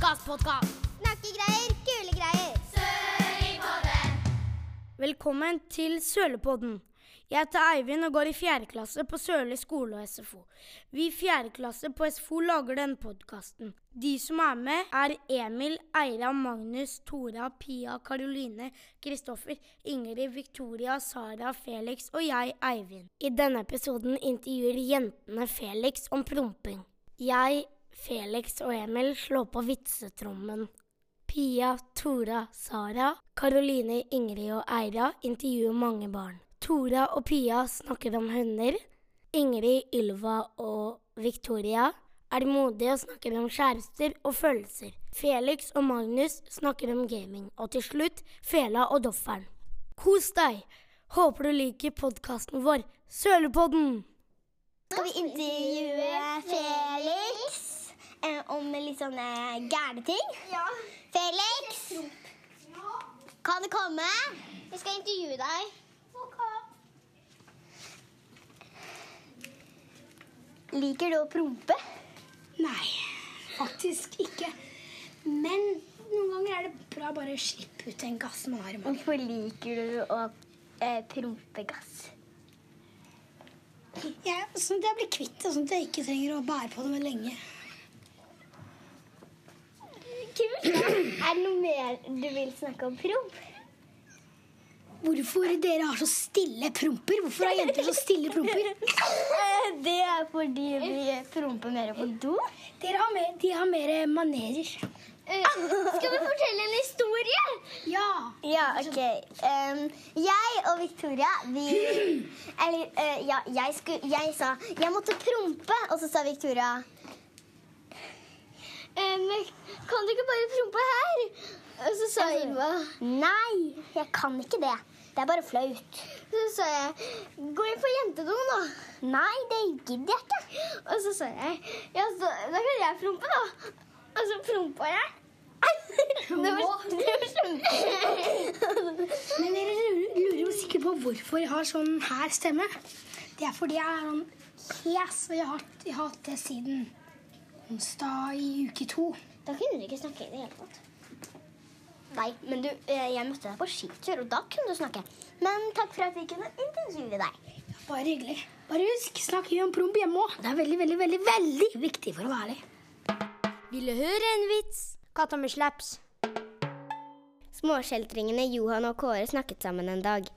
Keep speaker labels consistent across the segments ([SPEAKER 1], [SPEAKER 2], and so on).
[SPEAKER 1] podkast.
[SPEAKER 2] Nakkegreier, kule greier.
[SPEAKER 1] Velkommen til Sølepodden. Jeg heter Eivind og går i fjerde klasse på Sørli skole og SFO. Vi i fjerde klasse på SFO lager denne podkasten. De som er med, er Emil, Eira, Magnus, Tora, Pia, Karoline, Kristoffer, Ingrid, Victoria, Sara, Felix og jeg, Eivind. I denne episoden intervjuer jentene Felix om promping. Jeg, Felix og Emil slår på vitsetrommen. Pia, Tora, Sara, Karoline, Ingrid og Eira intervjuer mange barn. Tora og Pia snakker om hunder. Ingrid, Ylva og Victoria er modige og snakker om kjærester og følelser. Felix og Magnus snakker om gaming. Og til slutt Fela og Dofferen. Kos deg! Håper du liker podkasten vår, Sølepodden!
[SPEAKER 2] Skal vi intervjue Felix eh, om litt sånne gærne ting? Ja. Felix, kan du komme? Vi skal intervjue deg. Ok. Liker du å prompe?
[SPEAKER 3] Nei, faktisk ikke. Men noen ganger er det bra å bare slippe ut den gassen man har i magen.
[SPEAKER 2] Hvorfor liker du å eh, prompe gass?
[SPEAKER 3] Ja, sånn at jeg blir kvitt det, sånn at jeg ikke trenger å bære på det med lenge.
[SPEAKER 2] Kult. Er det noe mer du vil snakke om promp?
[SPEAKER 3] Hvorfor dere har så stille promper? Hvorfor har jenter så stille promper?
[SPEAKER 2] Det er fordi vi promper mer på do.
[SPEAKER 3] Dere har mer, de har mer manerer.
[SPEAKER 2] Eh, Skal vi fortelle en historie?
[SPEAKER 3] Ja.
[SPEAKER 2] Ja, OK. Em, jeg og Victoria, vi Eller, eh, ja, jeg, skulle, jeg sa jeg måtte prompe, og så sa Victoria
[SPEAKER 3] Eh,
[SPEAKER 2] Kan du ikke bare prompe her? Og så sa Ylva Nei, jeg kan ikke det. Det er bare flaut. Så sa jeg Gå inn på jentedoen, da. Nei, det gidder jeg ikke. Og så sa jeg Ja, så, da kan jeg prompe, da. Og så prompa jeg. Det var, det var kjempe...
[SPEAKER 3] Men dere lurer, lurer jo sikkert på hvorfor jeg har sånn her stemme. Det er fordi jeg er sånn hes, og jeg har, jeg har hatt det siden onsdag i uke to.
[SPEAKER 2] Da kunne du ikke snakke i det hele tatt. Nei, men du, eh, jeg møtte deg på skitur, og da kunne du snakke. Men takk for at vi kunne intervjue deg.
[SPEAKER 3] Bare hyggelig. Bare husk, snakk mye om promp hjemme òg. Det er veldig, veldig, veldig veldig viktig for å være ærlig.
[SPEAKER 1] Vil du høre en vits? Katta med slaps.
[SPEAKER 2] Småskjeltringene Johan og Kåre snakket sammen en dag.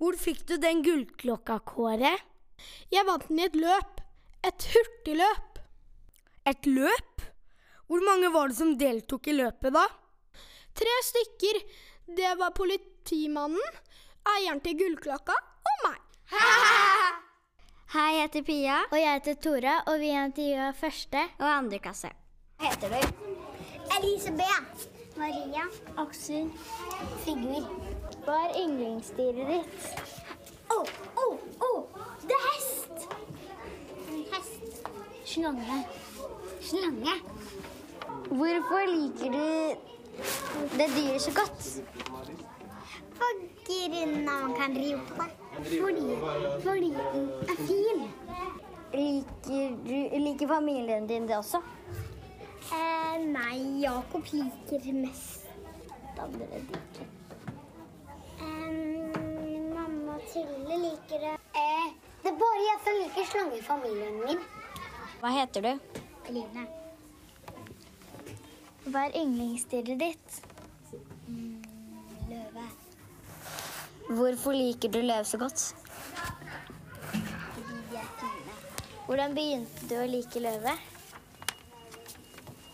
[SPEAKER 1] Hvor fikk du den gullklokka, Kåre? Jeg vant den i et løp. Et hurtigløp. Et løp? Hvor mange var det som deltok i løpet, da?
[SPEAKER 4] Tre stykker. Det var politimannen, eieren til gullklokka og meg.
[SPEAKER 5] Hei, jeg heter Pia. Og jeg heter Tora, og vi intervjua første og andre klasse.
[SPEAKER 2] Hva heter du? Elisabeth. Maria. Aksel. Sigurd. Hva er yndlingsdyret ditt? Å, å, å! Oh, Det er hest! Hest. Slange. Slange. Hvorfor liker du det dyret så godt? På grunn av man kan ri på det. Fordi, fordi den er fin. Liker, liker familien din det også? Eh, nei, Jakob liker mest andre liker. mamma og Trille liker det. Eh, det er bare jeg som liker slange i familien min.
[SPEAKER 5] Hva heter du?
[SPEAKER 2] Line. Hva er yndlingsdyret ditt? Mm, løve.
[SPEAKER 5] Hvorfor liker du løv så godt?
[SPEAKER 2] Fordi de er fine.
[SPEAKER 5] Hvordan begynte du å like løve?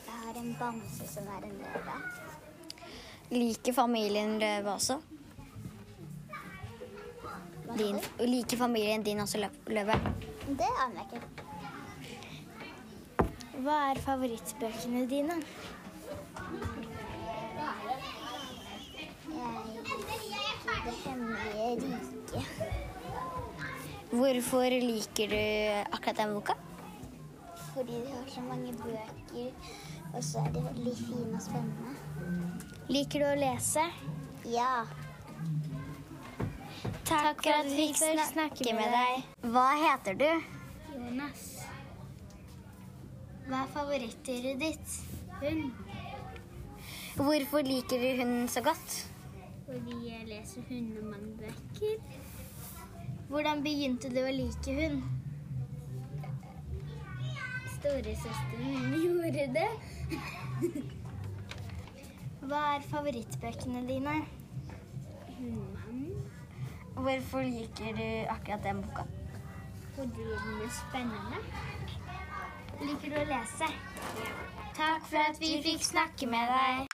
[SPEAKER 2] Jeg har en bamse som er en løve.
[SPEAKER 5] Liker familien løv også? Din, liker familien din også løv- løve?
[SPEAKER 2] Det aner jeg ikke.
[SPEAKER 5] Hva er favorittbøkene dine?
[SPEAKER 2] Jeg liker det hemmelige riket.
[SPEAKER 5] Hvorfor liker du akkurat den boka?
[SPEAKER 2] Fordi de har så mange bøker, og så er de veldig fine og spennende.
[SPEAKER 5] Liker du å lese?
[SPEAKER 2] Ja.
[SPEAKER 5] Takk for at vi fikk snakke med deg. Hva heter du?
[SPEAKER 2] Jonas. Hva er favorittdyret ditt? Hund.
[SPEAKER 6] Hvorfor liker du hunden så godt?
[SPEAKER 2] Fordi jeg leser hundemannbøker.
[SPEAKER 6] Hvordan begynte du å like hund?
[SPEAKER 2] Storesøsteren min gjorde det.
[SPEAKER 6] Hva er favorittbøkene dine?
[SPEAKER 2] Hundemannen.
[SPEAKER 6] Hmm. Hvorfor liker du akkurat den boka?
[SPEAKER 2] Fordi den er spennende. Liker du å lese?
[SPEAKER 6] Takk for at vi fikk snakke med deg.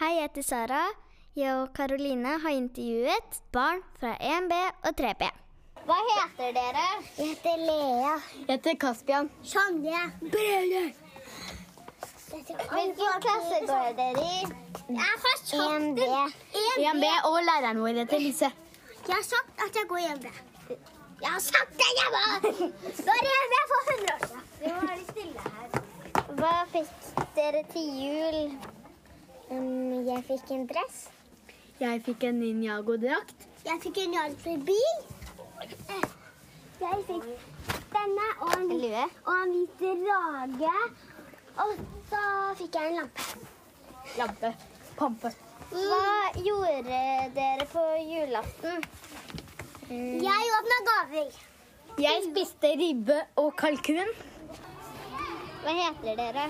[SPEAKER 6] Hei, jeg heter Sara. Jeg og Karoline har intervjuet barn fra 1B og 3B.
[SPEAKER 2] Hva heter dere? Jeg heter Lea.
[SPEAKER 6] Jeg heter Kaspian.
[SPEAKER 2] Sanja. Brøle. Hvilken klasse går dere i? Jeg er fra Tjoften. 1B.
[SPEAKER 6] og læreren vår heter Lise.
[SPEAKER 2] Jeg har sagt at jeg går 1B. Jeg har sagt det jeg var! Går 1B for 100 år siden. Vi må være stille her.
[SPEAKER 6] Hva fikk dere til jul?
[SPEAKER 2] Um,
[SPEAKER 6] jeg fikk en dress. Jeg fikk en ninjago-drakt.
[SPEAKER 2] Jeg fikk en hjelpebil. Jeg fikk denne og en,
[SPEAKER 6] Lue.
[SPEAKER 2] og en hvit drage. Og så fikk jeg en lampe.
[SPEAKER 6] Lampe. Pampe. Hva gjorde dere på julaften?
[SPEAKER 2] Jeg åpna gaver.
[SPEAKER 6] Mm. Jeg spiste ribbe og kalkun. Hva heter dere?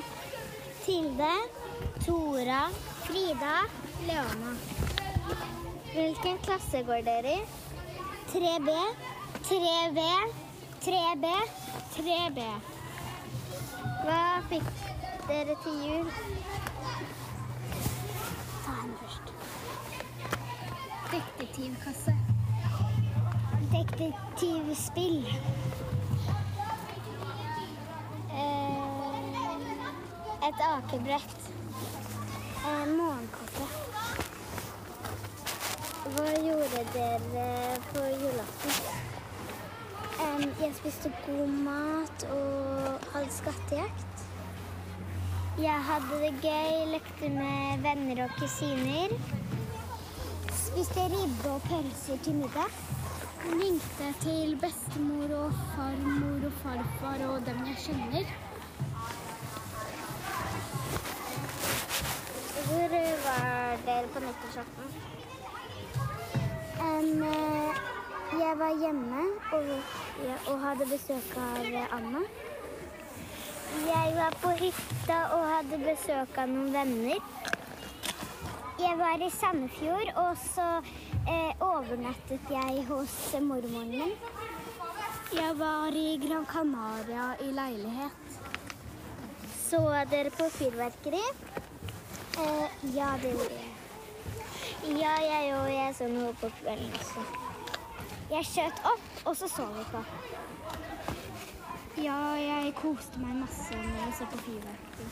[SPEAKER 2] Tilde, Tora, Frida, Leona.
[SPEAKER 6] Hvilken klasse går dere i?
[SPEAKER 2] 3B, 3B, 3B, 3B.
[SPEAKER 6] Hva fikk dere til jul?
[SPEAKER 2] Ta henne først.
[SPEAKER 6] Detektivkasse.
[SPEAKER 2] Detektivspill.
[SPEAKER 6] Eh, et akebrett.
[SPEAKER 2] Eh, Morgenkåpe.
[SPEAKER 6] Hva gjorde dere eh, på julaften?
[SPEAKER 2] Em, jeg spiste god mat og hadde skattejakt. Jeg hadde det gøy, lekte med venner og kusiner. Spiste ribbe og pølser til middag. Ringte til bestemor og farmor og farfar og dem jeg kjenner.
[SPEAKER 6] Hvor var dere på nyttårsaften?
[SPEAKER 2] Em, eh, jeg var hjemme og, ja, og hadde besøk av eh, Anna. Jeg var på hytta og hadde besøk av noen venner. Jeg var i Sandefjord, og så eh, overnattet jeg hos eh, mormoren min. Jeg var i Gran Canaria i leilighet. Så dere på fyrverkeri? Eh, ja, det gjorde jeg. Ja, jeg òg. Jeg så noe på kvelden også. Jeg skjøt opp, og så så vi på. Ja, jeg koste meg masse med å se på fyrverkeri.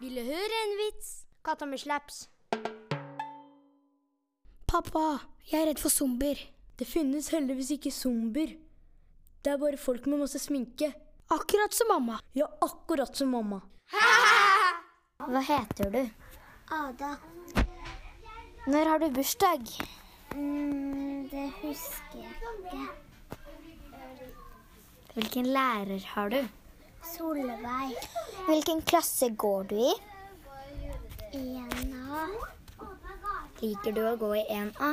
[SPEAKER 1] Ville høre en vits? Katta med slaps. Pappa, jeg er redd for zombier. Det finnes heldigvis ikke zombier. Det er bare folk med masse sminke. Akkurat som mamma. Ja, akkurat som mamma.
[SPEAKER 6] Hva heter du?
[SPEAKER 2] Ada,
[SPEAKER 6] Når har du bursdag?
[SPEAKER 2] mm, det husker jeg ikke.
[SPEAKER 6] Hvilken lærer har du?
[SPEAKER 2] Solveig.
[SPEAKER 6] Hvilken klasse går du i?
[SPEAKER 2] Ena.
[SPEAKER 6] Liker du å gå i 1A?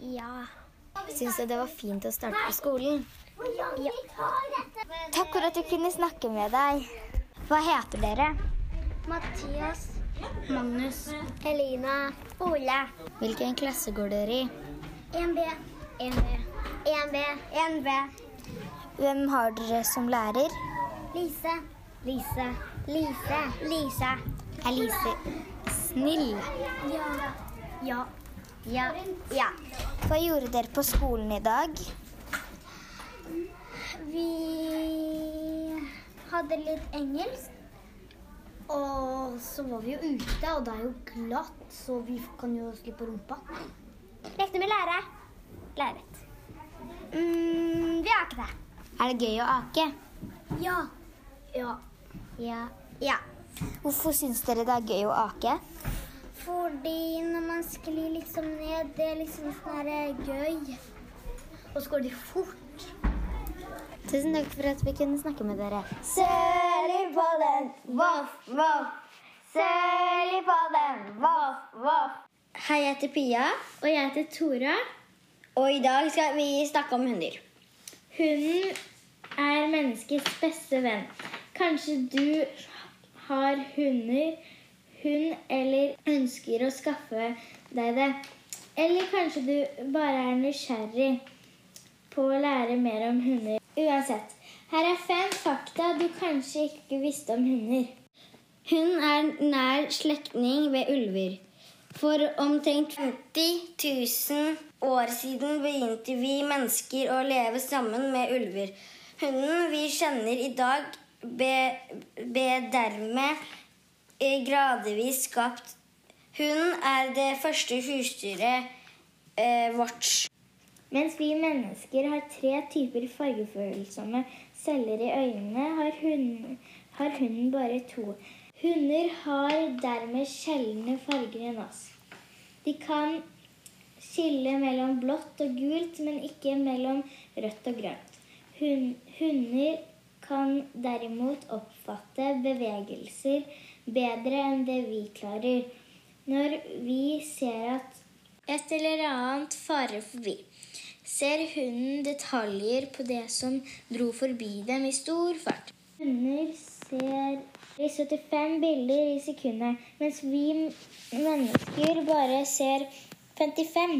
[SPEAKER 2] Ja.
[SPEAKER 6] Syns du det var fint å starte på skolen? Takk for at vi kunne snakke med deg. Hva heter dere?
[SPEAKER 2] Mathias.
[SPEAKER 6] Magnus.
[SPEAKER 2] Elina. Ole.
[SPEAKER 6] Hvilken klasse går dere i?
[SPEAKER 2] 1B. 1B. 1B. 1B.
[SPEAKER 6] Hvem har dere som lærer?
[SPEAKER 2] Lise. Lise. Lise. Lise.
[SPEAKER 6] Er Lise snill?
[SPEAKER 2] Ja. Ja. Ja. Ja.
[SPEAKER 6] Hva gjorde dere på skolen i dag?
[SPEAKER 2] Vi hadde litt engelsk. Og så var vi jo ute, og det er jo glatt, så vi kan jo slippe på rumpa. Lekte med lære. Læret. Mm, vi har ikke det.
[SPEAKER 6] Er det gøy å ake?
[SPEAKER 2] Ja. Ja. Ja. Ja.
[SPEAKER 6] Hvorfor syns dere det er gøy å ake?
[SPEAKER 2] Fordi når man sklir liksom ned, det er liksom sånn her gøy. Og så går det fort.
[SPEAKER 6] Tusen takk for at vi kunne snakke med dere. Sør i
[SPEAKER 3] den, voff, voff. Sølv på den, voff, voff. Hei, jeg heter Pia.
[SPEAKER 2] Og jeg heter Tora.
[SPEAKER 3] Og i dag skal vi snakke om hunder.
[SPEAKER 2] Hunden er menneskets beste venn. Kanskje du har hunder, hund, eller ønsker å skaffe deg det. Eller kanskje du bare er nysgjerrig på å lære mer om hunder. Uansett, her er fem fakta du kanskje ikke visste om hunder.
[SPEAKER 3] Hun er nær slektning ved ulver. For omtrent 50 000 år siden begynte vi mennesker å leve sammen med ulver. Hunden vi kjenner i dag, ble, ble dermed eh, gradvis skapt. Hunden er det første husdyret eh, vårt.
[SPEAKER 2] Mens vi mennesker har tre typer fargefølsomme celler i øynene, har, hun, har hunden bare to. Hunder har dermed sjeldne farger enn oss. De kan skille mellom blått og gult, men ikke mellom rødt og grønt. Hun, hunder kan derimot oppfatte bevegelser bedre enn det vi klarer, når vi ser at et eller annet farer forbi. Ser hunden detaljer på det som dro forbi dem i stor fart. Hunder ser i 75 bilder i sekundet, mens vi mennesker bare ser 55.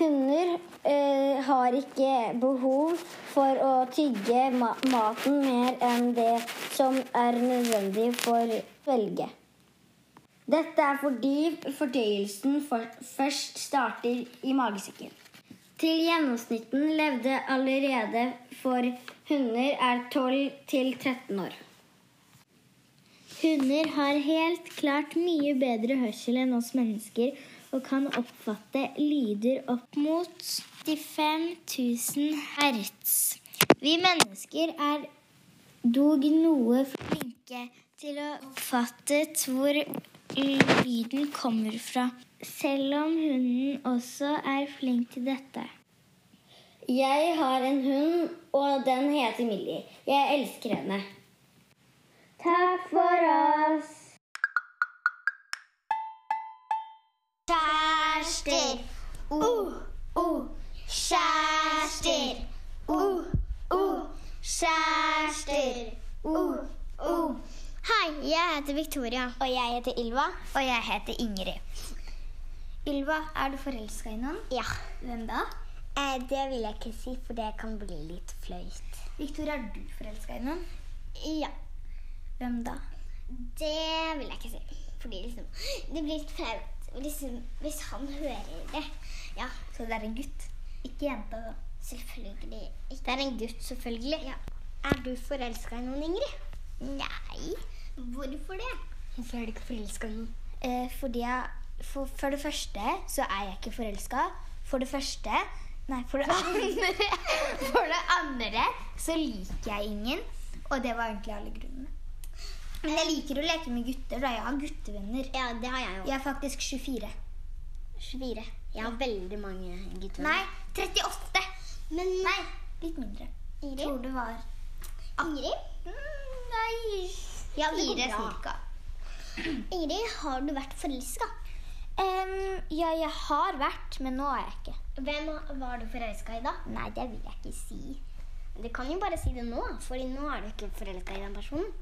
[SPEAKER 3] Hunder eh, har ikke behov for å tygge ma maten mer enn det som er nødvendig for velge. Dette er fordi fordøyelsen for først starter i magesekken. Til gjennomsnitten levde allerede for hunder er 12 til 13 år.
[SPEAKER 2] Hunder har helt klart mye bedre hørsel enn oss mennesker og kan oppfatte lyder opp mot 55 000 hertz. Vi mennesker er dog noe flinke til å oppfatte hvor lyden kommer fra, selv om hunden også er flink til dette.
[SPEAKER 3] Jeg har en hund, og den heter Millie. Jeg elsker henne.
[SPEAKER 2] Takk for oss!
[SPEAKER 3] Kjærester. O, o. Kjærester. O, o. Kjærester. O, o.
[SPEAKER 2] Hei, jeg heter Victoria. Og jeg heter Ylva. Og jeg heter Ingrid. Ylva, er du forelska i noen? Ja. Hvem da? det vil jeg ikke si, for det kan bli litt flaut. Victoria, er du forelska i noen? Ja. Hvem da? Det vil jeg ikke si. Fordi liksom, det blir litt flaut liksom, hvis han hører det. Ja. Så det er en gutt? Ikke jenta, da? Selvfølgelig ikke. Det er en gutt, selvfølgelig. Ja. Er du forelska i noen, Ingrid? Nei. Hvorfor det? Hvorfor er du ikke forelska i noen? Eh, fordi jeg for, for det første så er jeg ikke forelska. For det første Nei, for det andre For det andre så liker jeg ingen. Og det var egentlig alle grunnene. Men jeg liker å leke med gutter, da. Jeg har guttevenner. Ja, det har Jeg også. Jeg er faktisk 24. 24. Jeg har veldig mange guttevenner. Nei, 38. Men Nei, litt mindre. Ingrid? Tror det var Ingrid? Nei Ja, fire cirka. Ingrid, har du vært forelska? ja, jeg har vært, men nå er jeg ikke. Hvem var du forelska i, da? Nei, det vil jeg ikke si. Du kan jo bare si det nå, for nå er du ikke forelska i den personen.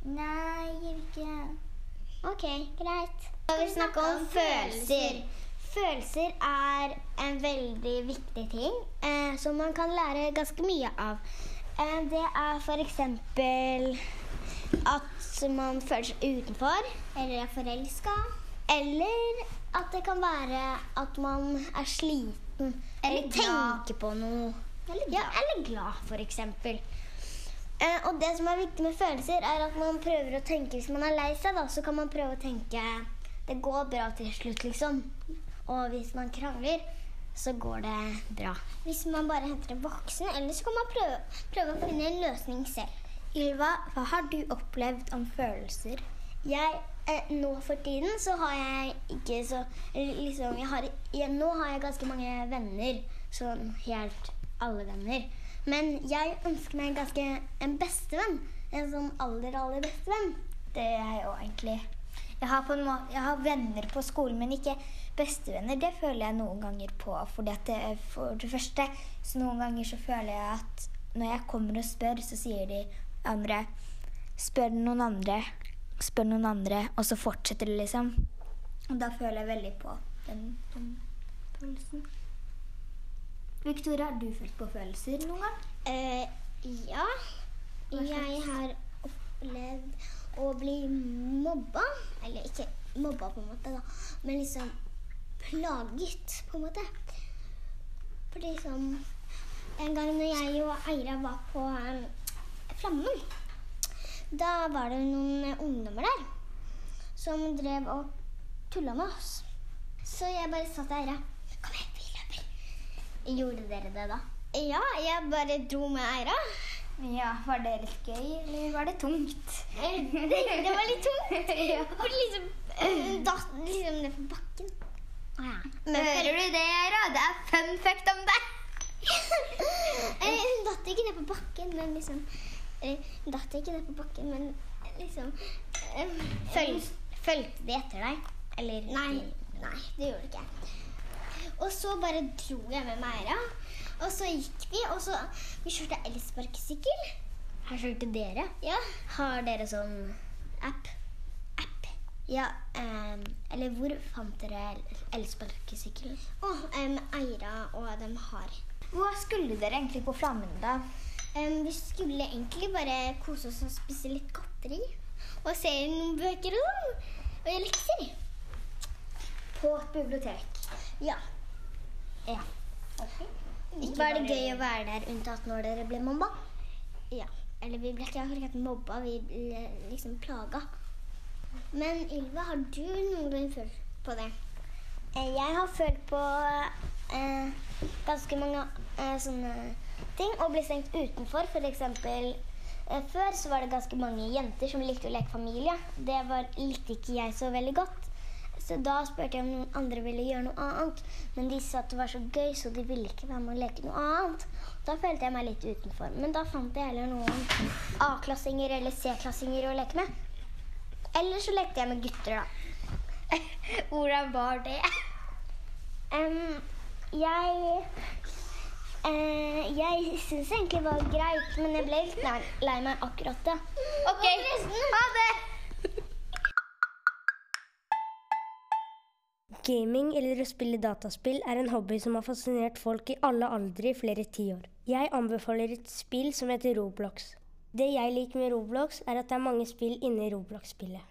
[SPEAKER 2] Nei, jeg vil ikke OK, greit. Skal vi snakke om følelser? Følelser er en veldig viktig ting eh, som man kan lære ganske mye av. Eh, det er f.eks. at man føler seg utenfor. Eller er forelska. Eller at det kan være at man er sliten. Eller, tenker på noe. Eller glad, ja, eller glad f.eks. Eh, og det som er viktig med følelser, er at man prøver å tenke Hvis man er lei seg, da, så kan man prøve å tenke Det går bra til slutt, liksom. Og hvis man krangler, så går det bra. Hvis man bare henter en voksen, eller så kan man prøve, prøve å finne en løsning selv. Ylva, hva har du opplevd om følelser? Jeg, eh, nå for tiden så har jeg ikke så eller liksom, jeg har, jeg, Nå har jeg ganske mange venner. Sånn helt alle venner. Men jeg ønsker meg ganske en bestevenn. en sånn aller, aller beste venn. Det er jeg òg, egentlig. Jeg har, på en må jeg har venner på skolen, men ikke bestevenner. Det føler jeg noen ganger på. Fordi at det er for det første, så noen ganger så føler jeg at når jeg kommer og spør, så sier de andre Spør noen andre. Spør noen andre. Og så fortsetter det, liksom. Og da føler jeg veldig på den, den følelsen. Victoria, har du følt på følelser noen gang?
[SPEAKER 7] Eh, ja. Jeg har opplevd å bli mobba. Eller ikke mobba, på en måte, da. men liksom plaget, på en måte. For liksom En gang når jeg og Eira var på um, Flammen, da var det noen eh, ungdommer der som drev og tulla med oss. Så jeg bare sa til Eira Kom igjen, vi løper. Gjorde dere det da? Ja, jeg bare dro med Eira.
[SPEAKER 2] Ja, Var det litt gøy, eller var det tungt?
[SPEAKER 7] Eh, Det, det var litt tungt. For liksom eh, datt liksom ned på bakken.
[SPEAKER 2] Hører du det, Eira? Det er fun fact om deg!
[SPEAKER 7] Eh, Hun datt ikke ned på bakken, men liksom eh, Hun datt ikke ned på bakken, men eh, liksom Fulgte de etter deg? Eller Nei, nei, det gjorde de ikke. Og så bare dro jeg med meg Eira. Og så gikk vi, og så Vi kjørte elsparkesykkel.
[SPEAKER 2] Her skjulte dere.
[SPEAKER 7] Ja.
[SPEAKER 2] Har dere sånn app?
[SPEAKER 7] App.
[SPEAKER 2] Ja, ehm, eller hvor fant dere el- elsparkesykkelen?
[SPEAKER 7] Og em, Eira ehm, og dem har.
[SPEAKER 2] Hva skulle dere egentlig på Flammen, da?
[SPEAKER 7] Em, Ehm, vi skulle egentlig bare kose oss og spise litt godteri. Og se noen bøker og sånn. Og gjøre lekser.
[SPEAKER 2] På et bibliotek.
[SPEAKER 7] Ja.
[SPEAKER 2] Ja.
[SPEAKER 7] Ikke
[SPEAKER 2] Var det
[SPEAKER 7] bare-
[SPEAKER 2] gøy å være der unntatt når dere ble mobba?
[SPEAKER 7] Ja. Eller vi ble ikke akkurat mobba, vi ble liksom plaga. Men Ylva, har du noen gang følt på det?
[SPEAKER 2] Eh, Jeg har følt på eh, ganske mange eh, sånne ting. Å bli stengt utenfor, f.eks. Eh, før så var det ganske mange jenter som likte å leke familie. Det var, likte ikke jeg så veldig godt. Så da spurte jeg om noen andre ville gjøre noe annet. Men de sa at det var så gøy, så de ville ikke være med å leke noe annet. Da følte jeg meg litt utenfor. Men da fant jeg heller noen A-klassinger eller C-klassinger å leke med. Eller så lekte jeg med gutter, da. Hvordan var det? jeg Eh, jeg syns egentlig det var greit, men jeg ble litt lei, lei meg akkurat da. OK. Ha det!
[SPEAKER 1] Gaming eller å spille dataspill er en hobby som har fascinert folk i alle aldre i flere tiår. Jeg anbefaler et spill som heter Roblox. Det jeg liker med Roblox, er at det er mange spill inni Roblox-spillet.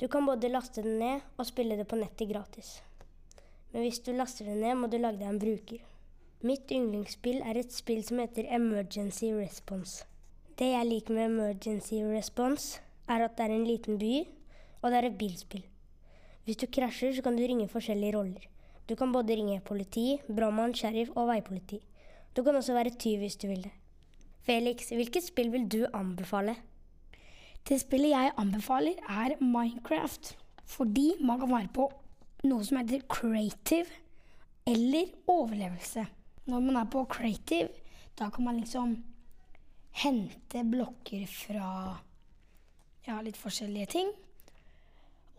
[SPEAKER 1] Du kan både laste det ned og spille det på nettet gratis. Men hvis du laster det ned, må du lage deg en bruker. Mitt yndlingsspill er et spill som heter Emergency Response. Det jeg liker med Emergency Response, er at det er en liten by, og det er et bilspill. Hvis du krasjer, så kan du ringe forskjellige roller. Du kan både ringe politi, brannmann, sheriff og veipoliti. Du kan også være tyv hvis du vil det. Felix, hvilket spill vil du anbefale?
[SPEAKER 8] Det spillet jeg anbefaler, er Minecraft. Fordi man kan være på noe som heter creative eller overlevelse. Når man er på creative, da kan man liksom hente blokker fra ja, litt forskjellige ting.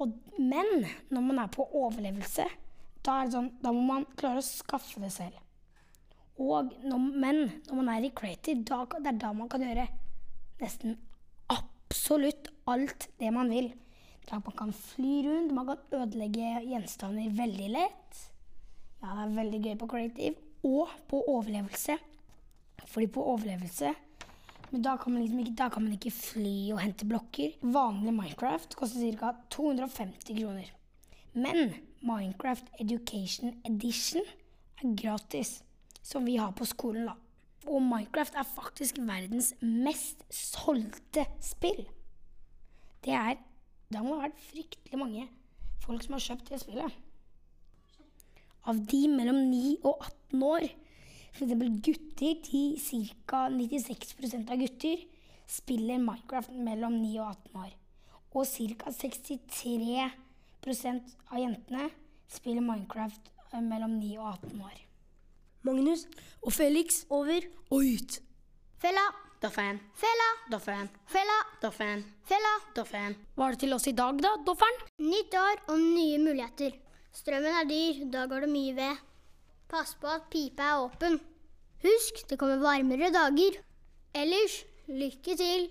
[SPEAKER 8] Og, men når man er på overlevelse, da, er det sånn, da må man klare å skaffe det selv. Og når, men når man er i creative, da, kan- det er da man kan gjøre nesten absolutt alt det man vil. Da man kan fly rundt, man kan ødelegge gjenstander veldig lett. Ja, det er veldig gøy på creative. Og på overlevelse. Fordi på overlevelse men da kan, man liksom ikke, da kan man ikke fly og hente blokker. Vanlig Minecraft koster ca. 250 kroner. Men Minecraft Education Edition er gratis, som vi har på skolen, da. Og Minecraft er faktisk verdens mest solgte spill. Det er Det må ha vært fryktelig mange folk som har kjøpt det spillet. Av de mellom 9 og 18 år, f.eks. gutter, de ca. 96 av gutter spiller Minecraft mellom 9 og 18 år. Og ca. 63 av jentene spiller Minecraft eh, mellom 9 og 18 år.
[SPEAKER 1] Magnus
[SPEAKER 9] Og Felix
[SPEAKER 1] over.
[SPEAKER 9] og ut.
[SPEAKER 2] Fella,
[SPEAKER 8] Doffen,
[SPEAKER 10] Fela,
[SPEAKER 8] Doffen,
[SPEAKER 10] fela,
[SPEAKER 8] Doffen,
[SPEAKER 10] fela.
[SPEAKER 8] Doffen.
[SPEAKER 11] Hva er det til oss i dag, da, Dofferen?
[SPEAKER 2] Nytt år og nye muligheter. Strømmen er dyr, da går det mye ved. Pass på at pipa er åpen. Husk, det kommer varmere dager. Ellers, lykke til.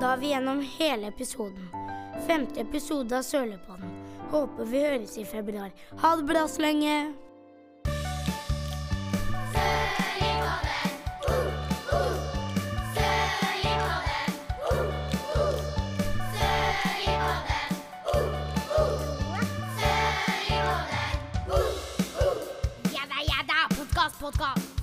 [SPEAKER 8] Da er vi gjennom hele episoden. Femte episode av Sørlepodden. Håper vi høres i februar. Ha det bra så lenge!
[SPEAKER 2] Ja da, ja da, podkast, podkast.